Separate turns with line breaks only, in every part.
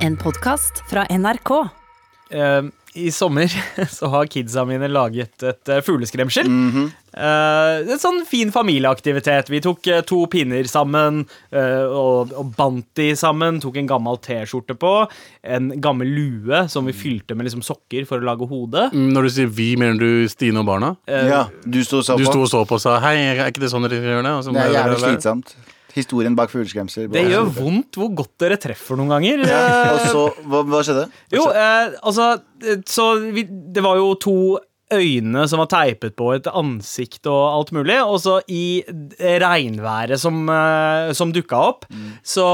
En podkast fra NRK.
Eh, I sommer så har kidsa mine laget et eh, fugleskremsel. Eh, en sånn fin familieaktivitet. Vi tok eh, to pinner sammen eh, og, og bandt de sammen. Tok en gammel T-skjorte på. En gammel lue som vi fylte med liksom sokker for å lage hode.
Mm, Når du sier vi, mener du Stine og barna?
Ja, du sto og så
Du sto
på.
og så på og sa hei, er ikke det sånn dere gjør det? Og så
Det er
bare-
jævlig slitsomt. Historien bak fugleskremsel.
Det gjør vondt hvor godt dere treffer noen ganger. eh,
Ja, Og så, hva, hva skjedde?
Jo, eh, altså eh, Så vi, det var jo to øyne som var teipet på et ansikt og alt mulig. Og så i d- regnværet som, eh, som dukka opp, så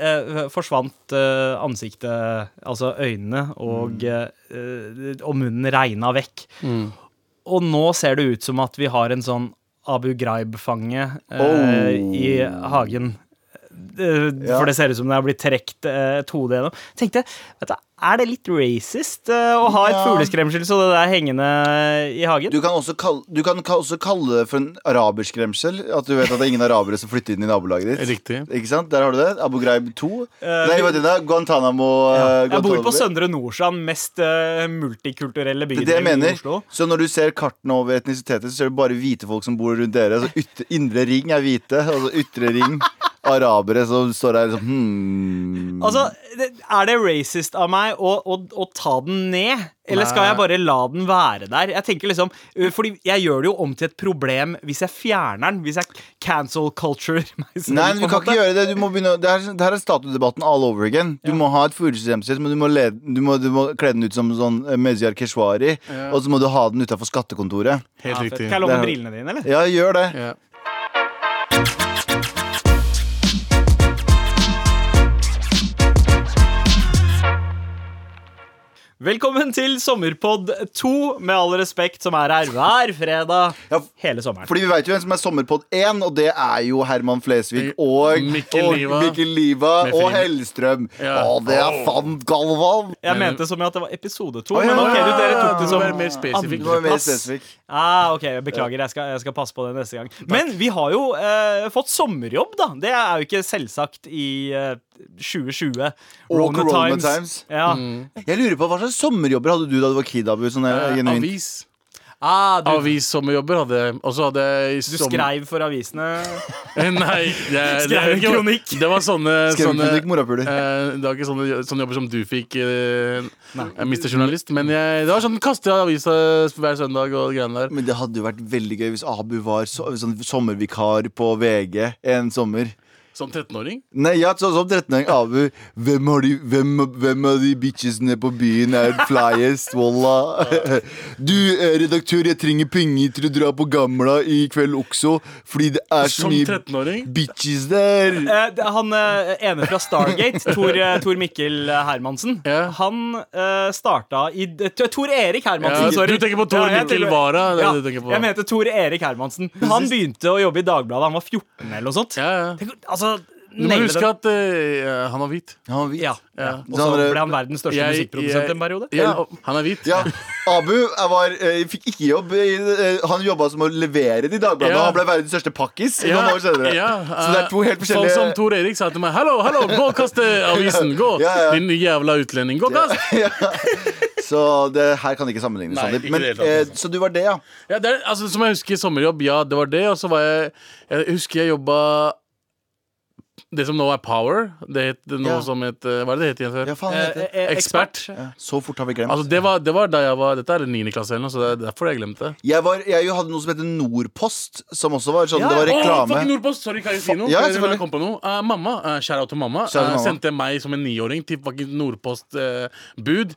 eh, forsvant eh, ansiktet Altså øynene og, eh, eh, og munnen regna vekk. Og nå ser det ut som at vi har en sånn Abu Ghraib-fange eh,
Oh.
i hagen. Eh,
Ja.
For det ser ut som det har blitt trekt eh, et hode gjennom. Tenkte, vet du, Er det litt racist eh, å ha et
Ja.
fugleskremsel så det der hengende i hagen?
Du kan også kalle, du kan ka- også kalle det for en araberskremsel. At du vet at det er ingen arabere som flytter inn i nabolaget ditt.
Riktig.
Ikke sant? Der har du det. Abu Ghraib 2. Nei, hva heter det? Guantánamo. eh,
Eh, Jeg bor på
Guantánamo.
Søndre Nordstrand, mest eh, multikulturelle
Det
bygd
er det
i
jeg mener.
Oslo.
Så når du ser kartene over etnisiteter, så ser du bare hvite folk som bor rundt dere. Så ytre, indre ring er hvite, og så ytre ring arabere som står der liksom hmm.
Altså, det- Er det racist av meg å, å, å ta den ned? Eller skal
Nei.
jeg bare la den være der? Jeg tenker liksom, øh, fordi jeg gjør det jo om til et problem hvis jeg fjerner den. Hvis jeg cancel culture meg selv.
Nei,
på
men du
en
kan
måte.
ikke gjøre det. Du må begynne, å- det, her, det her er statuedebatten all over again. Du må ha et fugleskremsel, men du må, lede, du, må, du må kle den ut som sånn eh, Mezyar Keshvari. Og så må du ha den utafor skattekontoret.
Helt
Ja, fett. Kan jeg
riktig.
låne
Det er-
brillene dine, eller?
Ja, gjør det.
Ja.
Velkommen til Sommerpod 2, med all respekt, som er her hver fredag
Ja, f-
hele sommeren.
Fordi vi veit jo hvem som er Sommerpod 1, og det er jo Herman Flesvig og
Mikkel
og
Liva.
Mikkel Liva
Med
og
Frid-
Hellstrøm.
Ja.
Å, det er fan Galvan!
Jeg mente som i at det var episode 2,
Å, ja,
men ok,
ja,
du, dere tok det
Du må
som
være mer spesifikk.
Du var mer
andreplass.
spesifikk.
Ah, ok, jeg Beklager, jeg skal, jeg skal passe på det neste gang. Men vi har jo eh, fått sommerjobb, da. Det er jo ikke selvsagt i eh, 2020.
Og
Rona
Corona
times.
Times.
Ja.
Jeg lurer på Hva slags sommerjobber hadde du da du var kid? Abu, sånn eh,
Eh,
genuint?
Avis.
Ah, du,
Avissommerjobber hadde jeg. Og så hadde jeg
du skreiv for avisene.
Nei, det, det,
Skrev en
det,
kronikk.
det var sånne,
Skrev du
sånne
ikke morapuler?
Eh, det var ikke sånne, sånne jobber som du fikk, eh, eh, Mr. Journalist. Men jeg, det var sånn kaste avisa hver søndag og greiene der.
Men det hadde jo vært veldig gøy hvis Abu var so sånn sommervikar på VG en sommer.
Som 13-åring.
Nei, ja, sånn som 13-åring Abu. Hvem, har de, hvem, hvem av de bitchesene på byen er flyest? Walla. Du, eh, redaktør, jeg trenger penger til å dra på Gamla i kveld også, fordi det er så
Som
mye
13-åring.
bitches der.
Eh, det- han eh, ene fra Stargate, Tor, eh, Tor Mikkel eh, Hermansen,
Ja.
han eh, starta i det- Tor Erik Hermansen,
Ja,
sorry.
du tenker på Tor
jeg
Mikkel
tenker-
Wara, det er
Ja,
det du tenker på.
jeg mente Tor Erik Hermansen. Han begynte å jobbe i Dagbladet, han var 14 eller noe sånt.
Ja, ja.
Tenk, altså,
Du må
naile
huske
den.
at eh, han var hvit.
Han var hvit.
Ja.
Ja.
Og så
Så han-
ble han verdens største
Jeg-
musikkprodusent
jeg-
en periode.
Ja, og- han er hvit.
Ja, Abu jeg var, eh, fikk ikke jobb. i- eh, Han jobba som å levere de Dagbladet.
Ja.
Han ble verdens største pakkis
Ja,
noen år senere.
ja,
Så det er to helt
eh,
forskjellige
Sånn som Tor Erik sa til meg. 'Hallo, hallo, gå og kaste avisen! Gå!
Ja, ja.
Din jævla utlending! Gå og kast!'
Så det her kan ikke sammenlignes,
Nei,
Sandeep.
ikke
Men,
det hele tatt, altså.
eh, så du var det, ja.
Ja, det er, altså, som jeg husker sommerjobb, ja, det var det. Og så var jeg Jeg husker jeg jobba det som nå er Power. Det het det nå
Ja.
som het eh, Hva er det det het igjen før?
ja faen, jeg heter.
Eh, eh,
Ekspert.
Ja, så fort har vi glemt.
Altså, det var, det var da jeg var Dette er niende klasse eller noe, så det er derfor jeg glemte det.
jeg, var, jeg hadde noe som heter Nordpost, som også var sånn.
Ja,
Det var reklame.
fucking Nordpost! Sorry, kan jeg si noe?
Ja,
Jeg- jeg
selvfølgelig.
kom på noe. Eh, mamma, uh, shout out til mamma,
Shout out
eh,
til mamma.
sendte meg som en niåring til fucking Nordpost-bud.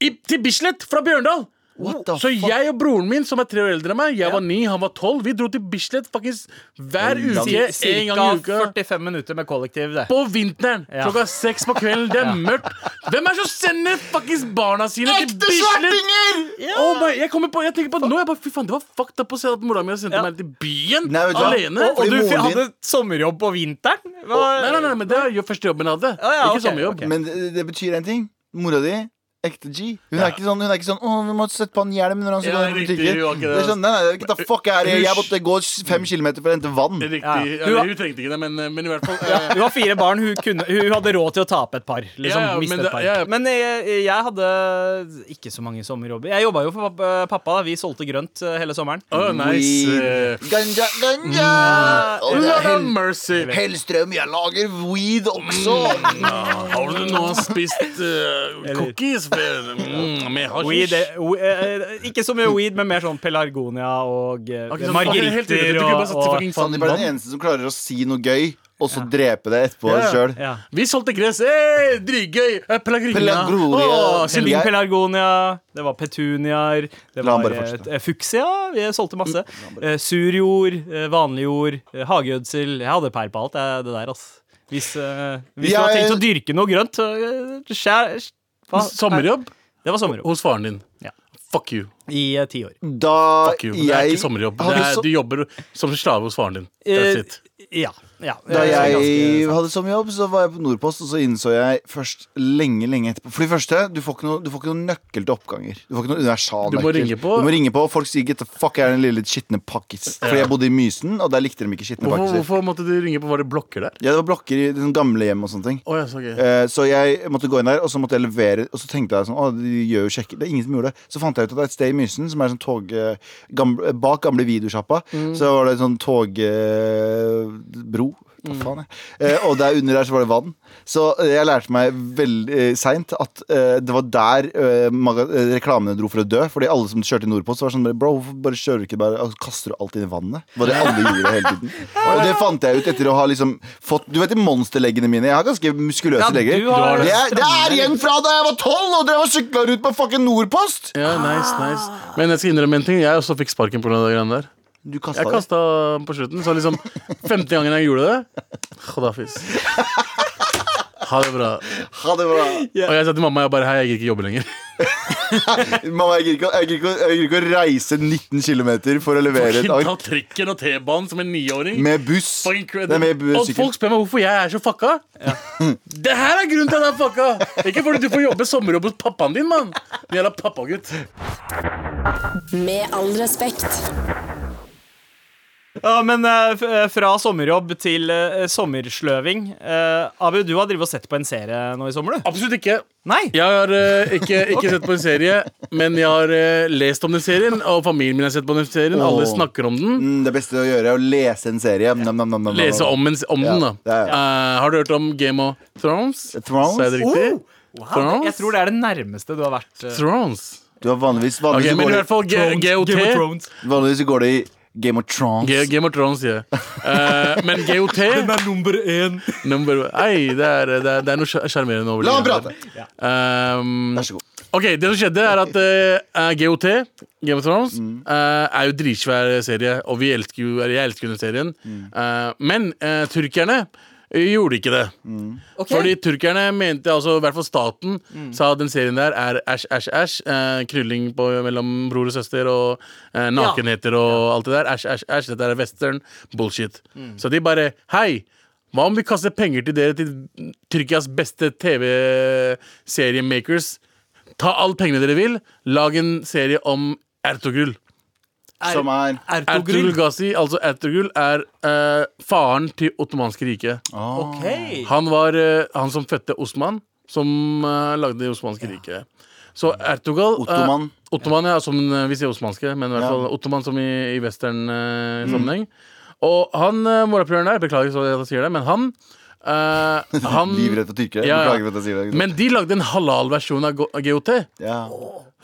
til Bislett fra Bjørndal!
What the
Så
fuck?
jeg og broren min, som er tre år eldre enn meg, jeg var ni, han var tolv, vi dro til Bislett faktisk hver
Oi, da.
uke. En
Cirka
gang i uka.
45 minutter med kollektiv, det.
På vinteren,
Ja.
klokka seks på kvelden, det er mørkt. Hvem er det som sender fuckings barna sine til
Ekte
Bislett?
svartinger!
Oh my, jeg, kommer på, jeg tenker på det nå, jeg bare, fy faen, det var fucked up å se at mora mi sendte
Ja.
meg til byen
Nei, vet du hva?
alene.
Og, og
Fordi
du
moren din-
hadde sommerjobb på vinteren? Hva-
nei, nei, nei, men det er jo første jobben jeg hadde.
Ja, ja,
Ikke
ok,
eh,
sommerjobb.
ok.
Men det, det betyr én ting. Mora di ekte G. Hun er ikke sånn, hun er ikke sånn 'Å, vi må sette på en hjelm når han skal
Ja,
gå i
riktig,
butikken'.
hun var ikke
Det
det.
er sånn, nei, nei, get the fuck out of here. Jeg
Hun-
måtte gå fem kilometer for å hente vann.
Riktig.
Ja.
Ja,
Du-
Hun trengte ikke det, men, men i hvert fall eh,
Hun har fire barn, hun, kunne, hun hadde råd til å tape et par. Liksom,
Ja, ja,
miste
men
et
det-
par.
ja, ja.
Men jeg, jeg hadde ikke så mange sommerjobber. Jeg jobba jo for pap- pappa. da. Vi solgte grønt eh, hele sommeren.
Åh, nice. eh, Mm.
Weed. Ganja, ganja!
Lord
Og
have
Hell-
mercy.
Hellstrøm, jeg lager weed også.
Mm. Har du nå spist eh, cookies med, mm, med
Weed,
hasj?
eh, we- eh, ikke så mye weed, men mer sånn pelargonia og eh,
Akkurat sånn, helt riktig,
margeritter.
du kunne bare
Og,
satse fucking
og,
Sandeep er den eneste som klarer å si noe gøy, og så drepe det etterpå
Ja.
selv sjøl.
ja.
Vi solgte gress. Hey, Dritgøy! Eh, Pelagrinia.
Pelagruria.
Åh, så-
Hel-
Helling
Jeg-
pelargonia, det var petuniaer, det
La han
var
bare fortsette. Mm,
eh, fuksia. Vi solgte masse. Eh, Surjord, eh, vanlig jord, eh, hagegjødsel. Jeg hadde peil på alt eh, det der, ass. Hvis, eh, hvis du har
Jeg-
tenkt å dyrke noe grønt eh, skjær, skj- hva?
Sommerjobb
Det var sommerjobb.
hos faren din.
Ja.
Fuck you.
I eh, ti år.
Da
Fuck you. Det er
jeg
ikke sommerjobb. Det
hadde
er,
so-
du jobber som slave hos faren din. That's
Eh,
it.
Ja. ja. Eh,
Da
så
jeg
ganske-
hadde sommerjobb, så var jeg på Nordpost, og så innså jeg først lenge, lenge etterpå For det første, du får ikke noe, du får ikke noe nøkkel til oppganger. Du får ikke noe universal
Du må
nøkkel.
ringe på.
Du må ringe på, og folk sier 'get the fuck out' den lille skitne pakkis. Fordi jeg bodde i Mysen, og der likte de ikke skitne
Hvorfor,
pakkiser.
hvorfor måtte du ringe på? Var det blokker der?
Ja, det var blokker i den gamle hjem og sånne ting.
Åh, ja, så gøy.
Eh, Så jeg måtte gå inn der, og så måtte jeg levere Og så tenkte jeg sånn, å, de gjør jo sjekke Det er ingen som gjorde det Så fant jeg ut at det er et sted i Mysen Som er sånn tog eh, gamle, Bak gamle videosjappa Så var det en sånn togbro faen jeg. Eh, og der under der så var det vann Så eh, jeg lærte meg veldig eh, sent At eh, det var der eh, maga- eh, Reklamene dro for å dø Fordi alle som kjørte i Nordpost var sånn Bro, hvorfor bare kjører du ikke bare og så Kaster du alt inn i vannet Det var det alle gjorde hele tiden Og det fant jeg ut etter å ha liksom fått Du vet de monsterleggene mine Jeg har ganske muskuløse
Ja,
legger
du har-
det, er, det er igjen fra da jeg var tolv og drev og sykla rundt på fucking Nordpost!
Ja, nice, nice. Men jeg skal innrømme en ting. Jeg også fikk sparken pga. det greiene der.
Du kasta
Jeg
det.
kasta på slutten, så liksom 50 gangen jeg gjorde det Khadafis. Ha det bra.
Ha det bra.
Og jeg sa til mamma jeg bare, hei, jeg gidder ikke jobbe lenger.
Mamma, jeg gidder ikke, å- jeg gidder ikke, å- jeg gidder ikke å reise 19 km for å levere et
Ta
ark
trikken og T-banen som en niåring.
med buss.
Fucking cred.
Det er med bu-
og
sykkel.
folk spør meg hvorfor jeg er så fucka. Det her er grunnen til at jeg er fucka! Ikke fordi du får jobbe sommerjobb hos pappaen din, mann. Din Jævla pappagutt.
Med all respekt.
Ja, men eh, f- eh, fra sommerjobb til eh, sommersløving. Eh, Abu, du har drevet og sett på en serie nå i sommer, du?
Absolutt ikke.
Nei?
Jeg har eh, ikke, ikke sett på en serie, men jeg har eh, lest om den serien. Og familien min har sett på den serien. Alle
Åh.
snakker om den.
Mm, det beste å gjøre er å lese en serie. Nam, nam, nam, nam, nam.
Lese om, en, om
Ja,
den, da.
ja, Eh,
Eh, har du hørt om Game of Thrones?
Thrones?
Sa jeg det riktig?
Oh, Wow, jeg tror det er det nærmeste du har vært. eh,
Thrones.
Du har vanligvis
Ok,
vanligvis,
men i hvert
går,
fall G-
Thrones,
GOT.
Game of Thrones.
det, vanligvis går det i Game of Thrones.
G- Game of Thrones, sier jeg. Eh, men GOT
er nummer én.
number, ei, det, er, det, er, det er noe sjar- sjarmerende over det.
La han prate.
Um,
Vær så god.
Ok, det som skjedde er at eh, GOT, Game of Thrones, eh, er jo dritsvær serie, og vi elsker jo, eller jeg elsker jo den serien. Eh, men eh, tyrkerne eh, gjorde ikke det. Fordi tyrkerne mente, altså i hvert fall staten, sa at den serien der er æsj, æsj, æsj. eh, krylling på, mellom bror og søster og eh, nakenheter og alt det der. Æsj, æsj, æsj. Dette er western bullshit. Så de bare Hei! Hva om vi kaster penger til dere, til Tyrkias beste TV-seriemakers? Ta alle pengene dere vil. Lag en serie om Ertogrul.
Som er
Ertogrul Ghazi, altså Ertogrul, er eh, faren til ottomanske riket.
Ok.
Han var eh, han som fødte Osman, som eh, lagde det osmanske riket. Så Ertugal eh,
Ottoman.
Ottoman, ja, som eh, vi sier osmanske, men i hvert
Ja. Mm.
fall Ottoman som i, i western eh, sammenheng. Og han uh, morapuleren der, beklager så jeg sier det, men han eh, han,
livredd for tyrkere.
Ja, ja.
Beklager for at jeg sier det.
Men de lagde en halal versjon av Go- GOT.
Ja.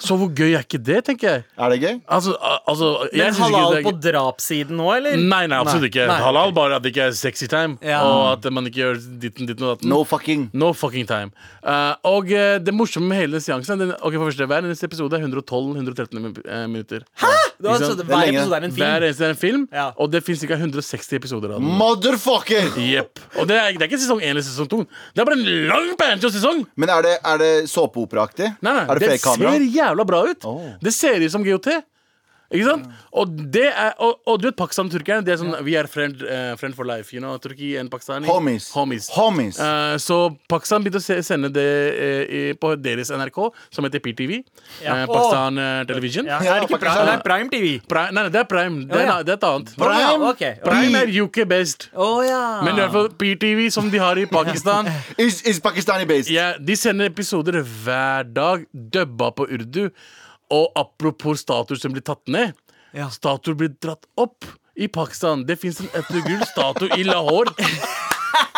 Så hvor gøy er ikke det, tenker jeg.
Er det gøy?
Altså, al- altså jeg
Men
synes ikke
halal
det er-
på drapssiden nå, eller?
Nei, nei, absolutt ikke.
Nei.
Halal bare at det ikke er sexy time.
Ja.
Og at man ikke gjør ditten, ditten og datten.
No fucking.
No fucking time. Eh, og eh, det morsomme med hele den seansen den, Ok, for første, Hver eneste episode er 112-113 eh, minutter. Hæ?
Du har altså, hver
lenge.
episode er en
Hver
film.
eneste er en film,
Ja.
og det fins ca. 160 episoder av den.
Motherfucker!
Jepp. Og det er, det er ikke sesong 1 eller sesong 2. Det er bare en lang banjo-sesong!
Men er det, er det såpeoperaaktig?
Nei, nei,
Er det
det
fake kamera?
ser jævla bra ut.
Åh.
Det ser ut som GOT. Ikke sant? Og, det er, og, og du vet, Pakistan-turkerne Det er sånn We are friend, eh, friend for life. You know, Turki and Pakistani.
Homies.
Homies.
Homies.
Eh, så Pakistan begynte å se, sende det eh, i, på deres NRK, som heter PTV.
Ja.
eh, Pakistan eh, Television.
Ja, er det ikke Prime, det er Prime TV?
Pri- nei, nei, det er Prime. Det er,
Ja, ja.
det er et
Å,
annet.
ja,
Prime?
ok. Ah. Å
Prime er UK best.
ja.
Men i hvert fall PTV, som de har i Pakistan
Is, is Pakistani based.
ja, De sender episoder hver dag, dubba på urdu. Og apropos statuer som blir tatt ned.
Ja.
Statuer blir dratt opp i Pakistan. Det fins en etnogul statue i Lahore.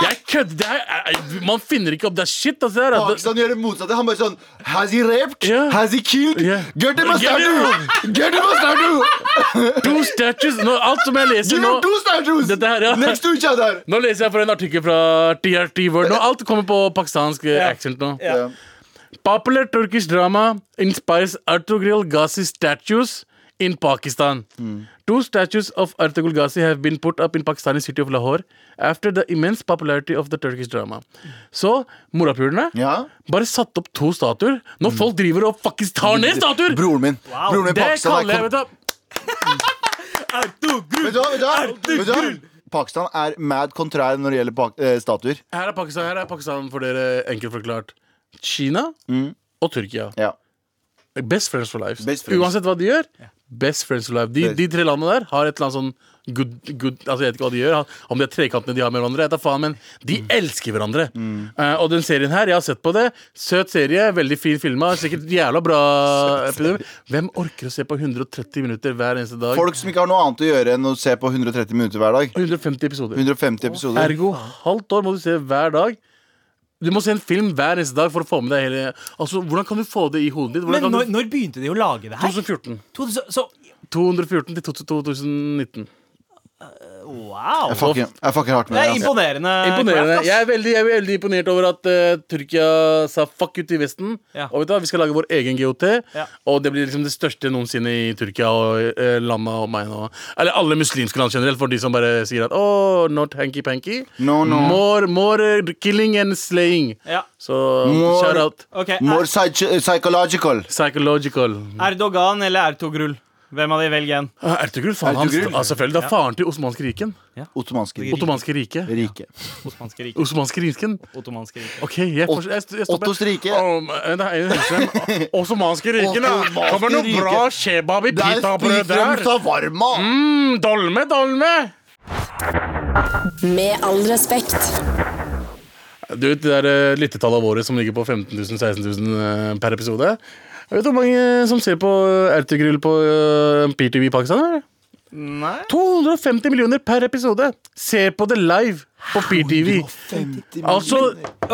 Jeg kødder! Det er- er- Man finner ikke opp. Det er shit. Altså, det er,
Pakistan gjør det motsatte. Han bare sånn Has he raped?
Ja.
Has he killed?
Ja.
Get him a
Get him-
statue! Get him a statue!
to statues nå, Alt som jeg leser
Give him
nå
two statues!
Dette her, ja.
Next to each other!
Nå leser jeg for en artikkel fra TRT World. Nå, alt kommer på pakistansk eh, accent nå.
Ja.
Popular Turkish drama inspires Ertugrul Ghazi statues in Pakistan. Two statues of Ertugrul Ghazi have been put up in Pakistani city of Lahore after the immense popularity of the Turkish drama. Så morapulerne
Ja. Mm.
bare satte opp to statuer. Når folk driver og fuckings tar ned statuer!
Broren min. Broren min i
Det
Pakistan er
kaller jeg vet du,
Vet du hva? Vet du hva? Vet du hva? Pakistan er mad kontrær når det gjelder pak eh, statuer.
Her er Pakistan, her er Pakistan for dere enkelt forklart. Kina
Mm.
og Tyrkia.
Ja.
Best friends for life.
Best friends.
Uansett hva de gjør. Best friends for life de,
Best.
de tre landene der har et eller annet sånn good, good Altså Jeg vet ikke hva de gjør. Om de er trekantene de har med hverandre. Jeg tar faen, men de
Mm.
elsker hverandre. Eh, og den serien her, jeg har sett på det. Søt serie, veldig fin filma. Sikkert jævla bra. episode. Hvem orker å se på 130 minutter hver eneste dag?
Folk som ikke har noe annet å gjøre enn å se på 130 minutter hver dag.
150 episoder.
150 episoder.
Ergo halvt år må du se hver dag. Du må se en film hver eneste dag for å få med deg hele Altså, Hvordan kan du få det i hodet ditt?
Men
Hvordan
når,
kan du...
når begynte de å lage det her?
2014.
To- så- så-
214 til 2019.
Wow.
Jeg fucker, jeg fucker hardt med
Det er
det. altså. ass.
imponerende.
Imponerende.
craft, ass.
Jeg er veldig, jeg er veldig imponert over at eh, Tyrkia sa fuck ut i Vesten.
Ja.
Og vet du hva, Vi skal lage vår egen GOT,
Ja.
og det blir liksom det største noensinne i Tyrkia og uh, landa og meg nå. Eller alle muslimske land generelt, for de som bare sier at oh, not hanky-panky.
No, no.
More, more eh, killing and slaying.
Ja.
Så
More-
shout out.
Ok,
More
er,
psych eh, psychological.
Psychological.
Erdogan eller Ertogrull? Hvem av de velger en?
Ah, Ertugrul, faen hans.
Ertugrul.
Ah, selvfølgelig. Det er faren til Osmanske riken.
Ottomanske rike.
Ottomanske riket.
rike.
Osmanske rike.
Osmanske riken.
Ottomanske rike.
Ok, jeg,
Ot-
forstår- jeg, st- jeg stopper.
Ottos rike.
Om- eh, nei, jeg husker- Osmanske riken, da.
Ottomanske
Kommer noe
rike.
bra kebab i
Der
pitabrød
spriker de
der.
savarma!
Mm, dolme, dolme!
Med all respekt.
Du vet de der eh, lyttetallene våre som ligger på 15 000-16 000 eh, per episode? Jeg vet du hvor mange som ser på eh, Ertugrul på eh, PTV i Pakistan? eller?
Nei.
250 millioner per episode ser på det live på PTV. Altså,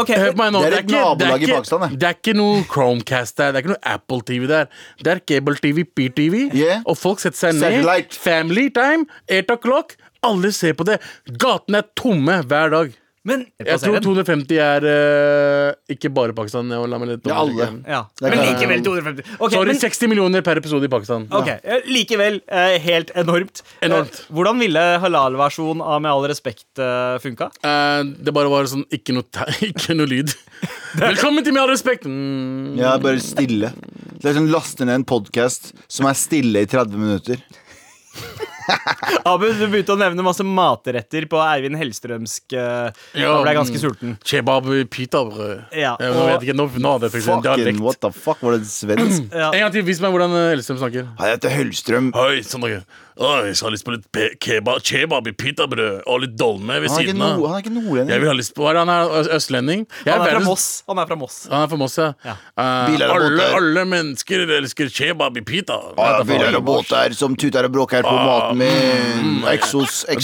Ok,
hør på meg nå.
Det er et
ikke-
nabolag i
ikke-
Pakistan, det.
Det er ikke noe Chromecast der, det er ikke noe Apple TV der. Det er cable TV, PTV,
Yeah.
og folk setter seg ned.
Satellite.
Family time, 8 o'clock. Alle ser på det. Gatene er tomme hver dag.
Men
Jeg tror 250 er eh, ikke bare Pakistan. Jeg må la meg litt
Ja, alle.
ja.
Det er
Men
klart.
likevel 250. Ok,
Sorry,
men,
60 millioner per episode i Pakistan.
ok, eh, Likevel eh, helt enormt. Eh,
Enormt.
Hvordan ville halal-versjonen av Med all respekt eh, funka?
Eh, det bare var sånn ikke noe, te- ikke noe lyd. Velkommen til Med all respekt! Mm.
Ja, bare stille. Det er sånn laster ned en podkast som er stille i 30 minutter.
Abu, du begynte å nevne masse matretter på Eivind Hellstrømsk. eh,
Ja,
da ble jeg
mm.
ganske sulten.
Kebab pitabrød.
Ja,
Jeg nå
og-
vet ikke, nå, nå hadde jeg faktisk en
Fucking,
dialekt.
what the fuck, var det svensk?
Ja.
En gang til, vis meg hvordan eh, Elstrøm snakker.
Jeg heter Høllstrøm.
Hei, sånn noe. Oi, så har jeg lyst på litt pe- kebab, kebab i pitabrød og litt dolme ved
Han er ikke,
siden
nord-
av.
han er ikke
Jeg
nordlending.
vil ha lyst på, Hva er det han er? Ø- Østlending? Jeg
Han er fra
verdens-
Moss. Han er fra Moss.
Han er fra Moss, ja.
Ja.
Eh,
Biler og
alle,
båter.
alle mennesker elsker kebab i pita.
Ah, ja, biler og båter som tuter og bråker
Ah,
på
mm,
maten min. Exos,
Dolme,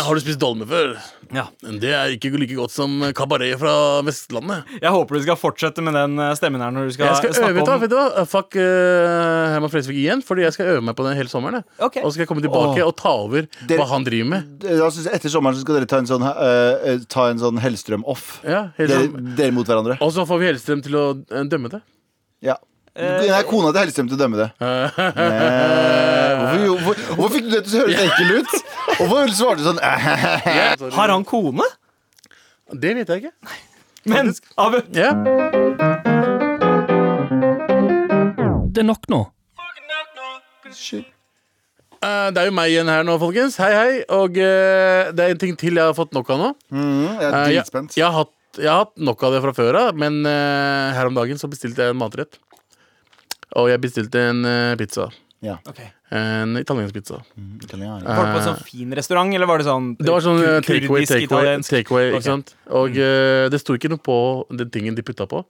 exosmat.
Har du spist dolme før?
Ja.
Det er ikke like godt som kabaret fra Vestlandet.
Jeg håper du skal fortsette med den eh, stemmen her når du skal,
Jeg skal øve,
snakke
vet du, hva,
om
vet du hva? Uh, Fuck eh, Herman Flesvig igjen, fordi jeg skal øve meg på den hele sommeren. jeg.
Ok.
Og så skal jeg komme tilbake og ta over
Dere-
hva han driver med.
Eh, Da synes jeg Etter sommeren så skal dere ta en sånn, eh, eh, ta en sånn Hellstrøm-off.
Ja, helt
Dere,
sånn.
dere mot hverandre.
Og så får vi Hellstrøm til å eh, dømme det.
Ja. Nei, kona til Hellstrøm til å dømme det. Eh, Hvorfor, hvorfor, hvorfor fikk du det til å høres enkel ut? Hvorfor svarte du sånn eh,
Sorry.
Har han kone?
Det vet jeg ikke.
Men Abu,
Ja.
Det er nok nå.
eh, det er jo meg igjen her nå, folkens. Hei, hei. Og eh, det er en ting til jeg har fått nok av nå.
Mm, jeg er
Eh, jeg,
dritspent.
jeg, har hatt, jeg har hatt nok av det fra før av, men eh, her om dagen så bestilte jeg en matrett. Og jeg bestilte en eh, pizza.
Ja.
Okay.
En italiensk pizza.
Italiensk.
Var det på en sånn fin restaurant, eller var det sånn
Eh. Det var sånn eh,
kur-
takeaway,
kurdisk,
takeaway,
italiensk?
takeaway
Ok. Mm.
ikke sant? Og eh, det sto ikke noe på den tingen de putta på.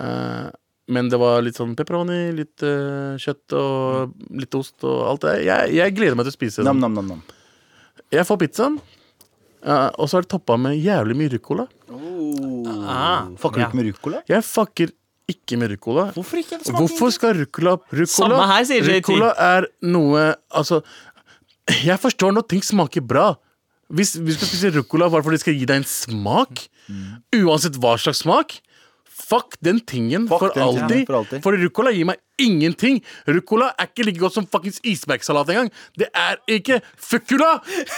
Eh, men det var litt sånn pepperoni, litt eh, kjøtt og litt ost og alt det der. Jeg, jeg gleder meg til å spise den.
Nam-nam-nam.
Jeg får pizzaen, eh, og så er det toppa med jævlig mye ruccola.
Ah,
Fucker du
ja.
ikke med ruccola?
Jeg fucker ikke med ruccola.
Hvorfor ikke? Det smaker
Hvorfor skal ruccola ruccola,
Samme her, sier JT.
ruccola er noe Altså, jeg forstår når ting smaker bra. Hvis vi skal spise ruccola bare fordi det skal gi deg en smak, uansett hva slags smak Fuck den tingen
Fuck
for,
den tingen
alltid.
for alltid.
For ruccola gir meg ingenting. Ruccola er ikke like godt som fuckings isbergsalat engang. Det er ikke Fuckula!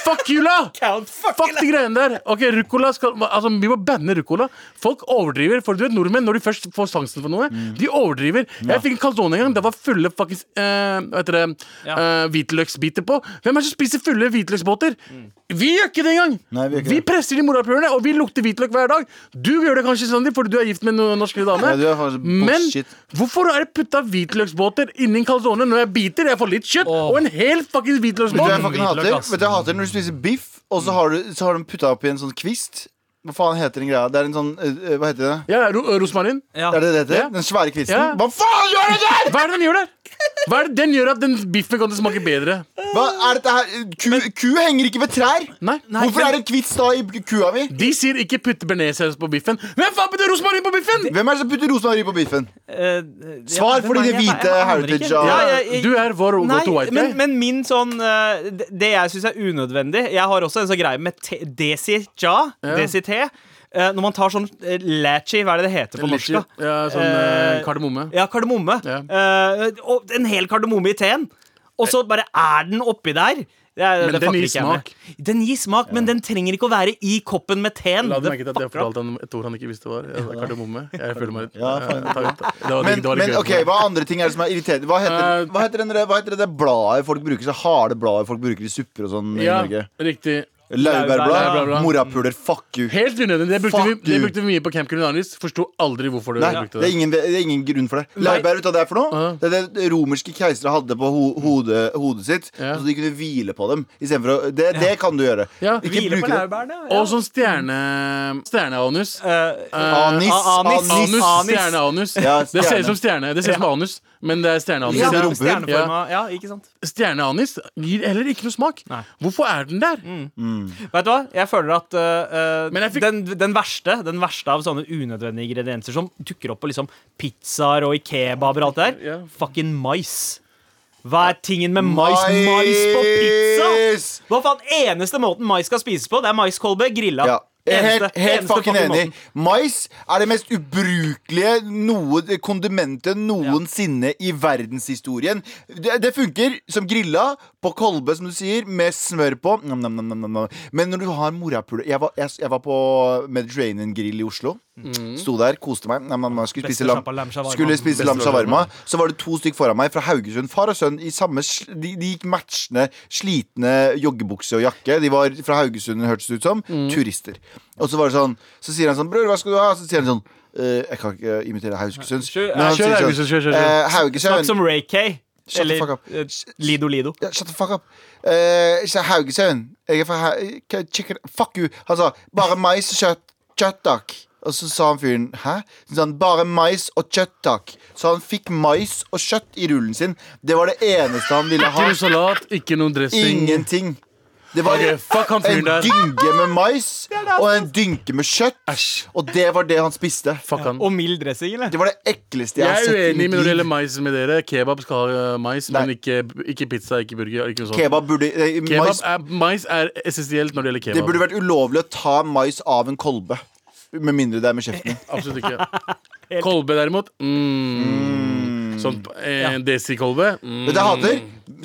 Fuckula!
Count fuckula!
Fuck de greiene der! Ok, ruccola skal Altså, vi må banne ruccola. Folk overdriver. For du vet, nordmenn, når de først får sansen for noe, de overdriver. Jeg fikk en calzone en gang. Det var fulle fuckings eh, Hva heter det
Ja.
eh, hvitløksbiter på. Hvem er det som spiser fulle hvitløksbåter? Vi gjør ikke det engang!
Nei, vi gjør ikke det.
presser de morapulerne, og vi lukter hvitløk hver dag. Du gjør det kanskje, Sandeep, fordi du er gift med en norsk dame.
Nei, du er faktisk
Men
bullshit.
hvorfor er det putta hvitløksbåter inni en calzone når jeg biter? Jeg får litt kjøtt
Åh.
og en hel fuckings
Vet du hva jeg
hvitløksbåt.
fucking
Hvitløk,
hater?
ass.
Vet du hva jeg hater Når du spiser biff, og så har, du, så har de putta oppi en sånn kvist. Hva faen heter den greia? Det er en sånn eh, eh, Hva heter det?
Ja, ro rosmarin.
Ja.
Er det det heter?
Ja.
Den svære kvisten?
Ja.
Hva faen gjør du der?!
Hva er det den gjør der? Hva er det den gjør at den biffen kan smake bedre?
Hva er dette her? Ku, ku henger ikke ved trær!
Nei, nei,
Hvorfor
men-
er det en kvist da i kua mi?
De sier ikke putte bearnéssaus på biffen. Hvem faen putter rosmarin på biffen?!
Hvem er det som putter rosmarin på biffen?
Eh,
Svar
hvem
for
er
dine
jeg? Jeg
hvite
aner ikke.
heritage av-
Ja, jeg- jeg-
Du er vår go to white
men,
guy.
men min sånn eh, det- Det jeg syns er unødvendig Jeg har også en sånn greie med te- desi ja, desi te. eh, Når man tar sånn eh, lachi, hva er det det heter på norsk?
Litchi.
da?
Ja, sånn eh,
Eh,
kardemomme.
Ja, kardemomme.
Ja.
Eh, og en hel kardemomme i teen. Og så bare er den oppi der. Det er,
Men
det
den
fucker
gir
ikke jeg med. Den gir smak, men den trenger ikke å være i koppen med teen.
La du merke til at jeg
fucker opp.
fortalte han et ord han ikke visste var? Ja, Kardemomme. Jeg føler meg litt
Ja,
eh,
faen.
tatt ut. Det var
Men,
det var litt
men
gøy.
ok, hva andre ting er det som er irriterende? Hva heter,
Eh,
hva heter, den, der- hva heter det der bladet folk bruker? Så harde bladet folk bruker i supper og sånn
Ja,
i Norge?
riktig.
Laurbærblad.
Laurbærblad.
Morapuler. Fuck you.
Helt unødvendig. Det brukte,
Fuck
vi, det
you.
brukte vi mye på Camp Culinaris. Forsto aldri hvorfor du
Nei,
brukte
det er,
det. Uh-huh.
ingen, det er ingen grunn for det. Laurbær, vet du hva det er for noe?
Ja.
Det er det romerske keisere hadde på ho hodet, hodet sitt,
Ja.
så de kunne hvile på dem. I stedet for å, det, det kan du gjøre.
Ja.
Ikke
Hvile på
bruke det.
laurbærene.
Og sånn stjerne... stjerneanus.
Eh,
Anis.
Ah, anis.
Anus,
Anis.
stjerneanus.
Ja,
Det ser
stjerne.
ut som stjerne. Det ser ut som anus, men det er stjerneanus.
ja,
Ikke sant?
stjerneforma. Ja, ikke sant.
Stjerneanis gir heller ikke noe smak.
Nei.
Hvorfor er den der?
Vet du hva? Jeg føler at øh, øh,
Men jeg fikk-
den, den, verste, den verste av sånne unødvendige ingredienser som dukker opp på liksom pizzaer og i kebaber og alt det der,
Ja.
fucking mais. Hva er tingen med mais? Mais på pizza?
Mais!
Hva faen? Eneste måten mais skal spises på, det er maiskolbe grilla.
Ja. Jeg er
Eneste-
helt, helt
eneste
fucking
fucking
enig.
måten.
Mais er det mest ubrukelige noe, kondimentet noensinne i verdenshistorien. Det, det funker som grilla på kolbe, som du sier, med smør på. Nam, nam, nam, nam, nam, nam. Men når du har morapuler jeg, var- jeg, jeg var på Mediterranean Grill i Oslo. Sto der, koste meg. Nam, nam, nam. Skulle
Mm. Beste
spise lam,
sjappa, lam shawarma.
skulle spise
Beste
lam shawarma.
shawarma.
Så var det to stykk foran meg fra Haugesund. Far og sønn i samme sl- De, de gikk matchende, slitne joggebukse og jakke. De var fra Haugesund, hørtes det ut som.
Mm.
Turister. Og så var det sånn Så sier han sånn Bror, hva skal du ha? Så sier han sånn «Eh, Jeg kan ikke imitere Haugesunds.
Kjør-
Men han
kjør
sier sånn,
Haugesund, kjør, kjør, kjør.
«Eh,
Snakk
Haugesund.
som Ray Kay.
Shut the fuck
Eller
up.
øh, Lido Lido.
Ja, shut the fuck up. Eh, sa Haugesund. Jeg er fra ha K- chicken Fuck you. Han sa bare mais og kjøtt. Kjøtt, takk. Og så sa han fyren hæ? Så sa han bare mais og kjøtt, takk. Så han fikk mais og kjøtt i rullen sin. Det var det eneste han ville ha.
Ikke noe salat, ikke noe dressing.
Ingenting. Det var
Ok, fuck han
en
fyren der.
dynge med mais og en dynke med kjøtt.
Æsj.
Og det var det han spiste.
Fuck han.
Og mild dressing, eller?
Det var det ekleste jeg,
Jeg
har
er
sett i
uenig med
mitt
når det gjelder
liv.
mais med dere. Kebab skal ha eh, mais,
Nei.
men ikke, ikke pizza, ikke burger. Ikke noe sånt.
Kebab burde, eh,
Kebab
mais,
er, mais er essensielt når det gjelder
det
kebab.
burde vært ulovlig å ta mais av en kolbe. Med mindre det er med kjeften.
Absolutt ikke. Kolbe, derimot mm. Sånn eh, desikolbe. Mm.
Vet du hva jeg hater?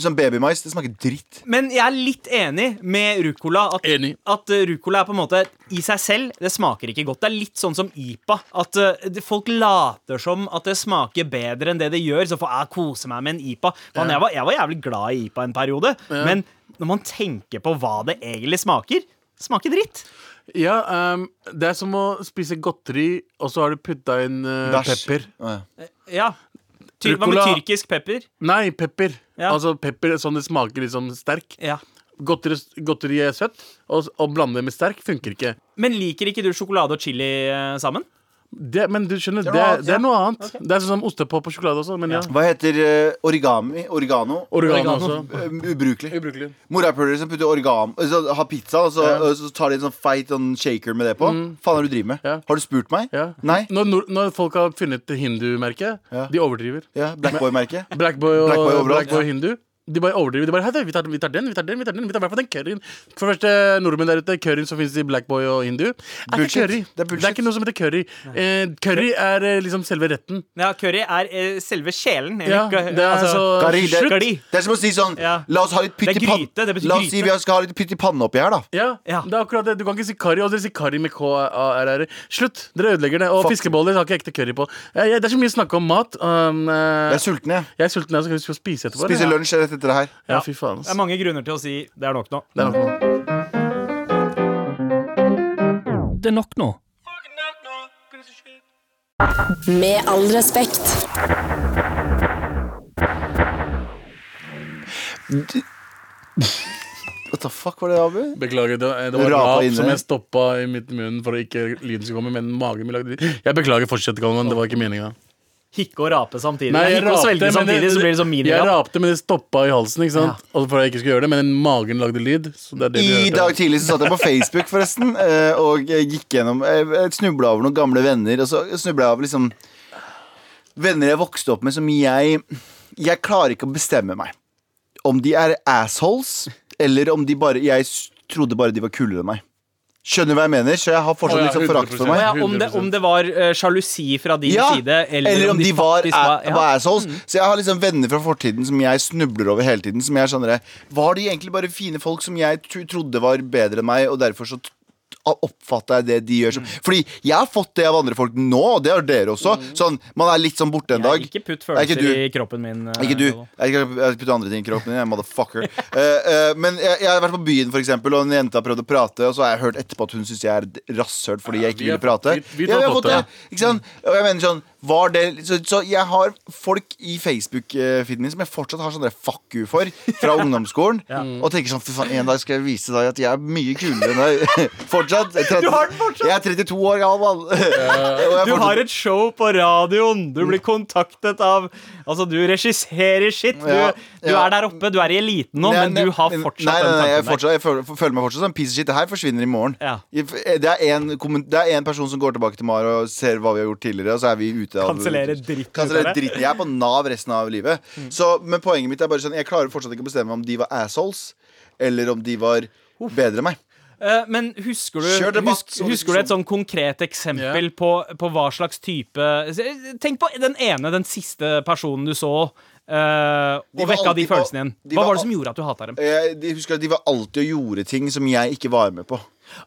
Sånn babymais, det smaker dritt.
Men jeg er litt enig med ruccola. At,
Enig.
at eh, ruccola er på en måte i seg selv Det smaker ikke godt. Det er litt sånn som IPA. At eh, det- folk later som at det smaker bedre enn det det gjør. Så får jeg kose meg med en IPA. Man, jeg, var, jeg var jævlig glad i IPA en periode, men når man tenker på hva det egentlig smaker Smaker dritt.
Ja, ehm, det er som å spise godteri, og så har du putta inn eh,
Bæsj.
pepper.
Ja.
Ja. Ty hva med
Rucola-
tyrkisk pepper?
Nei, pepper.
Ja.
Altså pepper, sånn det smaker liksom sterk.
Ja.
Godteri, godteri er søtt, og, og blande det med sterk funker ikke.
Men liker ikke du sjokolade og chili eh, sammen?
Det, men du skjønner, det,
noe
er-
annet,
det
ja.
er noe annet. Det er sånn som ostepop og sjokolade også, men ja.
Hva heter eh, origami? Oregano?
Oregano
Oregano.
også.
Eh, ubrukelig.
Ubrukelig.
Morapulere som putter organ eh, så Har pizza, og så, og så tar de en sånn feit sånn shaker med det på. Faen, er det du driver med?
Ja.
Har du spurt meg?
Ja.
Nei?
Når, nor- når folk har funnet hindu-merket,
Ja.
de overdriver.
Ja, Blackboy-merket?
Blackboy og
Black Boy
Blackboy
overalt.
Black Boy hindu. De bare overdriver. De bare, «Hei, da, vi, tar, vi tar den, vi tar den, vi tar den. Vi tar i hvert fall den curryen. For det første, eh, nordmenn der ute, curryen som finnes i Blackboy og hindu, er
Bullshit.
ikke curry.
Det er bullshit.
ikke noe som heter curry. Eh, curry er eh, liksom selve retten.
Ja, Curry er eh, selve sjelen. eller
Ja,
ikke-
det er
altså,
altså så
Gari, det,
Slutt.
det er som å si sånn
Ja.
La oss ha litt pytt
Det er
i pann-
gryte, det betyr
La oss si
gryte.
vi skal ha litt pytt i panne oppi her, da.
Ja,
Ja.
det er akkurat det. Du kan ikke si curry, og dere sier curry med K-A-R-R. Slutt! Dere ødelegger det. Og
Fuck.
fiskeboller har ikke ekte curry på. Eh, jeg- Det er så mye snakk om mat. Um, eh,
Jeg er sulten, jeg.
jeg er sulten, jeg, så skal vi skal spise etterpå.
Spiser
eller?
lunsj rett etter det her.
Ja, fy faen.
Det er
ass.
mange grunner til å si det er nok nå.
Det er nok noe.
Det er nok nå.
Med all respekt.
What the fuck var det, Abu?
Beklager, det var, det var
Rapa
rap
inne.
som jeg stoppa i mitt munn for å ikke lyden skulle komme, men magen min lagde lyd. Jeg beklager, fortsett, Galvan. Det var ikke meninga.
Hikke og rape samtidig.
Nei, jeg
Hikke og svelge
men
samtidig, så blir det sånn
jeg
minirap.
rapte, men det stoppa i halsen, ikke sant? Og for at jeg ikke skulle gjøre det, men magen lagde lyd. Så det er det du
I
hørte.
dag tidlig så satt jeg på Facebook, forresten, eh, og jeg gikk gjennom eh, Jeg snubla over noen gamle venner, og så snubla jeg over liksom Venner jeg vokste opp med som jeg Jeg klarer ikke å bestemme meg. Om de er assholes, eller om de bare Jeg s- trodde bare de var kulere enn meg. Skjønner du hva jeg mener? Så jeg har
Å
fortsatt
ja,
liksom forakt for
100%.
Å
meg.
ja, om, det, om det var eh, sjalusi fra din
Ja,
side, eller,
om de var,
faktisk
var,
ja. Mm.
assholes. Så jeg har liksom venner fra fortiden som jeg snubler over hele tiden. Som jeg er sånn der, Var de egentlig bare fine folk som jeg tro- trodde var bedre enn meg, og derfor så t- oppfatta jeg det de gjør som
Mm.
Fordi jeg har fått det av andre folk nå, og det har dere også. Sånn, Man er litt sånn borte en dag.
Jeg, ikke putt
Nei, ikke
følelser
du.
i kroppen min. eh,
Ikke du.
Galvan.
Jeg kan jeg putter andre ting i kroppen din. Jeg er motherfucker. Eh, eh, men jeg, jeg har vært på byen, for eksempel, og en jente har prøvd å prate, og så har jeg hørt etterpå at hun syns jeg er d- rasshøl fordi jeg ikke
vi har
ville prate.
fått- vi- vi har
ja, vi har
fått
fått det. Ikke sant? Og jeg mener sånn var det, så, så jeg har folk i Facebook-feeden min som jeg fortsatt har sånn der fuck you for fra ungdomsskolen. Og tenker sånn fy faen, en dag skal jeg vise deg at jeg er mye kulere enn deg. fortsatt. Jeg er tretti-
Du har den fortsatt.
Jeg er 32 år gammel. Og jeg
Du
fortsatt-
har et show på radioen! Du blir
Mm.
kontaktet av Altså, du regisserer shit! Du,
Ja,
du
ja.
er der oppe, du er i eliten nå,
Nei,
men du
nei,
har
nei,
fortsatt
nei, nei, nei,
den
jeg,
tanken der.
fortsatt, jeg føler, føler meg fortsatt som en piece of shit. Det her forsvinner i morgen.
Ja.
I- eh, Det er en kommen- det er en person som går tilbake til Mar og ser hva vi har gjort tidligere, og så er vi ute av
Kansellerer dritten ut av
Kansellerer
det. Mm.
dritten. Jeg er på Nav resten av livet. Så, men poenget mitt er bare sånn jeg klarer fortsatt ikke å bestemme om de var assholes, eller om de var bedre enn meg.
Eh, Men husker du,
Kjør debatt,
husk,
så diskusjon.
husker du et sånn konkret eksempel på, på hva slags type Eh, Tenk på den ene, den siste personen du så, eh,
De
og
var
vekka de
alltid-
følelsene igjen.
de
Hva
var
var det
al- Eh.
som gjorde at du hata dem?
Jeg de husker at de var alltid og gjorde ting som jeg ikke var med på.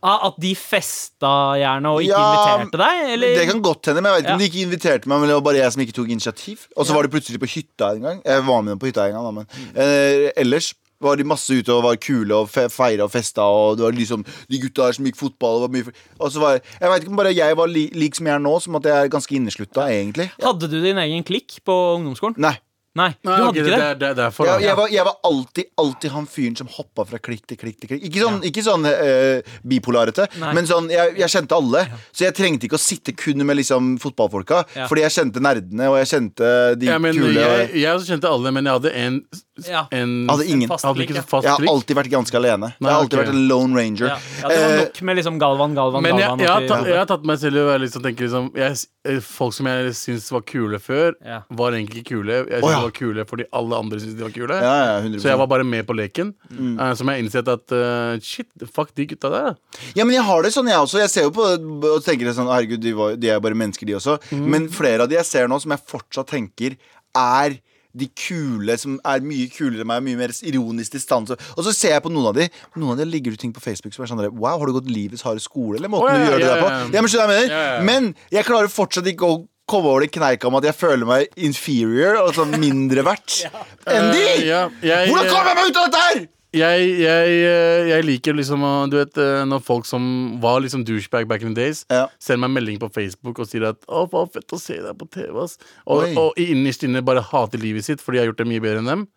Ah, at de festa gjerne og ikke
Ja,
inviterte deg? Eller?
Det kan godt hende, men jeg vet ikke om
Ja.
de ikke inviterte meg. Men det var bare jeg som ikke tok initiativ. Og så var de plutselig på hytta en gang. Jeg var med dem på hytta en gang, da, men eh, ellers var de masse ute og var kule og fe feira og festa. Og det var liksom de gutta her som gikk fotball. Og, var mye for- og så var jeg Jeg vet ikke om bare jeg var li lik som jeg er nå, som at jeg er ganske inneslutta, egentlig.
Hadde du din egen klikk på ungdomsskolen?
Nei.
Nei, du
Nei,
hadde
ok,
ikke det.
det, er- det er derfor. da.
Jeg, jeg, var, jeg var alltid alltid han fyren som hoppa fra klikk til klikk. til klikk Ikke sånn, ikke sånn eh, bipolarete,
Nei.
men sånn, jeg, jeg kjente alle. Så jeg trengte ikke å sitte kun med liksom fotballfolka,
Ja.
fordi jeg kjente nerdene og jeg kjente de
ja, men,
kule.
jeg, jeg også kjente alle, men jeg hadde en,
Ja.
en
Jeg hadde ingen.
Fast-
Hadde ikke så fast
Jeg har
trykk.
alltid vært ganske alene. jeg
Nei,
har
ok.
alltid vært en lone ranger.
Ja. ja, Det var
Eh,
nok med liksom Galvan, Galvan,
Men jeg,
Galvan.
jeg, har
at
tatt,
de-
jeg har tatt meg selv i å være litt sånn, tenke liksom jeg, eh, Folk som jeg syntes var kule før,
Ja.
var egentlig ikke kule. Jeg syntes
Å, ja.
de var kule fordi alle andre syntes de var kule.
ja, ja, Mm. 100%.
Så jeg var bare med på leken. eh, som jeg innsett at eh, Shit, fuck de gutta der.
Ja, men jeg har det sånn, jeg også. Jeg ser jo på det og tenker sånn
Mhm.
Herregud, de, var, de er jo bare mennesker, de også. Men flere av de jeg ser nå, som jeg fortsatt tenker er de kule som er mye kulere enn meg, mye mer ironisk distanse. Og så ser jeg på noen av de Noen av de ligger det ting på Facebook som er sånn der, Wow, har du gått livets harde skole, eller måten
Å, ja,
du
ja,
gjør det der
ja,
på?
ja.
Ja, men, skjønner du hva jeg
Ja,
mener?
ja, ja.
men jeg klarer fortsatt ikke å komme over den kneika om at jeg føler meg inferior, altså mindre verdt, enn de!
Eh, ja, jeg-
Hvordan kommer jeg meg ut av dette her?!
jeg, jeg, eh, jeg liker liksom å- Du vet eh, når folk som var liksom douchebag back in the days,
Ja.
sender meg en melding på Facebook og sier at 'Å, hva fett å se deg på TV', ass. Og,
Oi.
og i innerst inne bare hater livet sitt fordi jeg har gjort det mye bedre enn dem.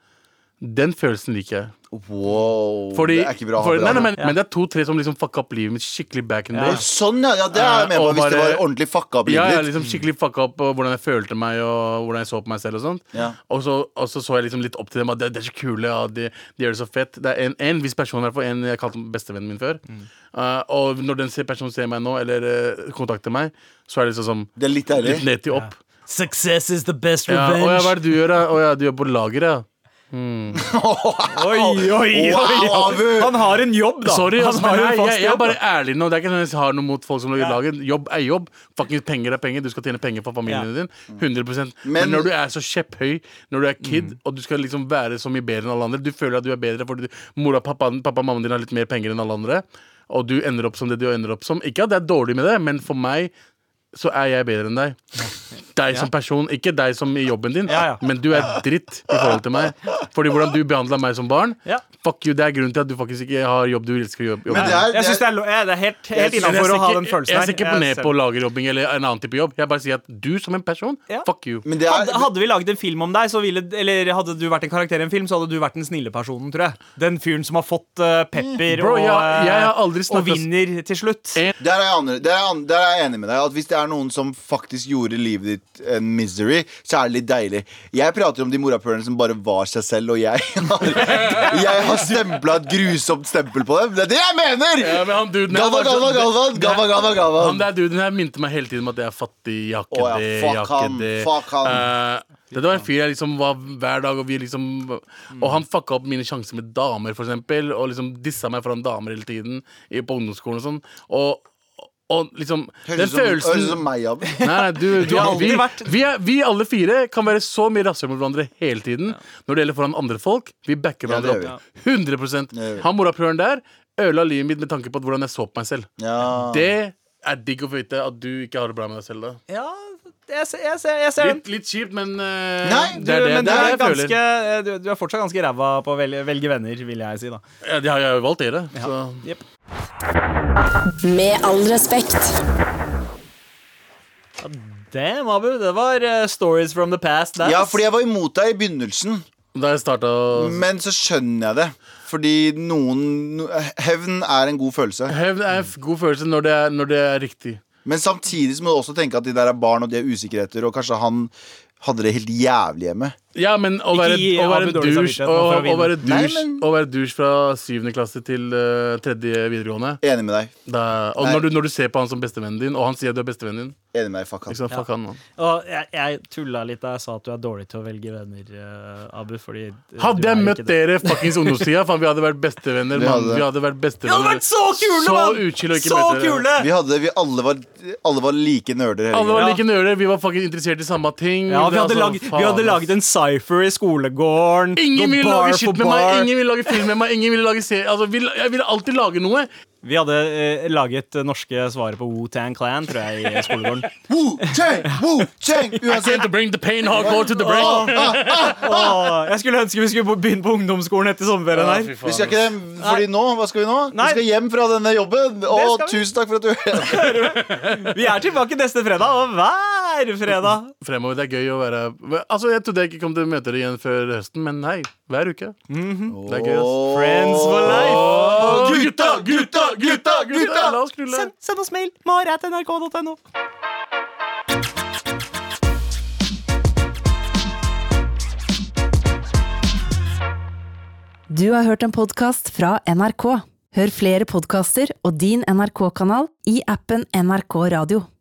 Den følelsen liker jeg.
Wow,
Fordi,
det er ikke bra. å ha
for,
det,
nei, nei,
altså.
men, men det er to-tre som liksom fucka opp livet mitt skikkelig back in the days.
Sånn, ja. ja det er jeg med
Ja,
på.
og
Hvis det
bare-
var ordentlig fucka opp
Ja,
livet
ja,
ditt.
liksom skikkelig fucka opp og hvordan jeg følte meg og hvordan jeg så på meg selv. Og sånt
Ja.
og, så, og så så jeg liksom litt opp til dem. At de, de er så kule, ja, de, de gjør det så fett. Det er en, en viss person, i hvert fall, en jeg kalte bestevennen min før.
Mm.
Eh, og når den se- personen ser meg nå, eller eh, kontakter meg, så er det liksom sånn
Det er litt deilig.
litt ned til opp.
Success is the best
Ja.
revenge.
Å ja, hva er det du gjør, da? Å ja, du gjør på lageret, ja.
Oi, oi, oi, oi.
Wow, Abu!
Han har en jobb, da.
Sorry,
han
ass, men
har jo
nei,
en fast
jeg, jeg er
jobb.
bare ærlig nå. Det er ikke sånn at jeg har noe mot folk som lager lager. Jobb er jobb. Fucking penger er penger. Du skal tjene penger for familien din. 100 Men,
Men-
når du er så kjepphøy, når du er kid, og du skal liksom være så mye bedre enn alle andre Du føler at du er bedre fordi du, mora, pappa, pappa og mammaen din har litt mer penger enn alle andre, og du ender opp som det du ender opp som. Ikke at det er dårlig med det, men for meg så er jeg bedre enn deg. Deg som person, ikke deg som i jobben din,
Ja, ja.
men du er dritt i forhold til meg. Fordi hvordan du behandla meg som barn,
Ja.
fuck you, det er grunnen til at du faktisk ikke har jobb du elsker å jobbe. jobbe
Men
med.
det er-
Jeg synes det er, lo- jeg- det er helt, helt
Jeg synes-
innafor å ha den
Jeg
følelsen
ser ikke på ned
ser-
på lagerjobbing eller en annen type jobb. Jeg bare sier at du som en person,
Ja.
fuck you.
Men det er,
hadde, hadde vi laget en film om deg, så ville, eller hadde du vært en karakter i en film, så hadde du vært den snille personen, tror jeg. Den fyren som har fått eh, pepper
Bro,
og,
jeg- jeg har aldri
eh, og
snakket- Eh.
vinner til slutt.
En-
der er, jeg andre, der, er jeg an- der er jeg enig med deg. At Hvis det er noen som faktisk gjorde livet ditt en misery, så er det litt deilig. Jeg prater om de morapulerne som bare var seg selv, og jeg har, jeg har stempla et grusomt stempel på dem. Det er det jeg mener!
Ja, men han duden her
Galvan,
var så-
Galvan, Galvan, Galvan, Galvan, Galvan.
Han der duden her minte meg hele tiden om at jeg er fattig, jeg har ikke
Å, ja,
det,
fuck
jeg har ikke
han,
det.
fuck han.
Eh, det var en fyr jeg liksom var hver dag, og vi liksom Og han fucka opp mine sjanser med damer, for eksempel, og liksom dissa meg foran damer hele tiden i- på ungdomsskolen og sånn. Og, og liksom
Høres
Den
ut som, høres ut
følelsen
som meg, Abu.
Nei, nei, du, du
har
vi,
aldri vært-
vi, er, vi alle fire kan være så mye raskere mot hverandre hele tiden. Når det gjelder foran andre folk, vi backer
Ja, det
hverandre
gjør
opp. 100
Det gjør vi.
Han morapuleren der ødela livet mitt med tanke på at hvordan jeg så på meg selv.
Ja.
Det er digg å få vite at du ikke har det bra med deg selv. da
Ja, jeg ser, jeg ser, jeg ser den.
Litt, litt kjipt, men eh,
Nei,
Du,
det er det,
men du
det, er
er,
det jeg
ganske, eh,
føler.
du, du er fortsatt ganske ræva på å velge, velge venner, vil jeg si. da
Ja, det har jeg jo valgt dere. Så.
Jep.
Med all respekt.
Damn, Abu. Det var eh, stories from the past. Der.
ja, fordi jeg var imot deg i begynnelsen,
Da jeg starta
men så skjønner jeg det. Fordi noen no- Hevn er en god følelse.
Hevn er en f- god følelse når det er, når det er riktig.
Men samtidig så må du også tenke at de der er barn, og de er usikkerheter, og kanskje han hadde det helt jævlig hjemme.
Ja, men
Ikke
å være,
gi
å være
Abu dårlig
douche
samvittighet nå
å,
for å
å
vinne.
være
Nei,
douche-
men-
å være douche fra syvende klasse til eh, tredje videregående
Enig med deg.
da, Og
Nei.
når du, når du ser på han som bestevennen din, og han sier at du er bestevennen din
Enig med deg, fuck han.
ikke sant? Fuck han, man.
Og jeg, jeg tulla litt da jeg sa at du er dårlig til å velge venner, eh, Abu. Fordi eh, du
Hadde
er
jeg
ikke
møtt
det.
dere fuckings ungdomstida, faen, vi hadde vært bestevenner.
Vi
Man.
hadde.
Vi hadde
Det
vært
hadde
bestevenner
vært så kule,
Så
mann!
utskill og ikke
Så
bedre.
kule!
Vi hadde, vi alle var, alle var like nerder hele
Alle
tiden.
var
Ja.
like nøler, vi var fucking interessert i samme ting.
Ja, vi hadde,
Altså,
laget, vi
faen,
hadde laget en cypher i skolegården.
Ingen
gått
ville
bar
lage
for
shit med meg,
bar.
ingen ville lage film med meg. Ingen ville lage serie altså, vi, Jeg ville alltid lage noe.
Vi hadde eh, laget eh, norske svaret på Wu-Tang Clan, tror jeg, i skolegården.
Wu-chang, Wu-chang,
Came
uansett.
to bring the pain, hardcore to the brain.
Åh, jeg skulle ønske vi skulle bo- begynne på ungdomsskolen etter sommerferien
Å,
her.
fy faen,
Vi skal ikke det, fordi nå, hva skal vi nå?
Nei.
Vi skal hjem fra denne jobben, og
skal vi.
tusen takk for at du
Vi er tilbake neste fredag, og hver fredag.
Fremover, det er gøy å være Altså, Jeg trodde jeg ikke kom til å møte dere igjen før høsten, men hei, hver uke. Det er gøy, ass.
Friends for life.
Åh,
Gutta, gutta, gutta, gutta!
La oss knulle.
Send, send oss mail. maratnrk.no.
Du har hørt en podkast fra NRK. Hør flere podkaster og din NRK-kanal i appen NRK Radio.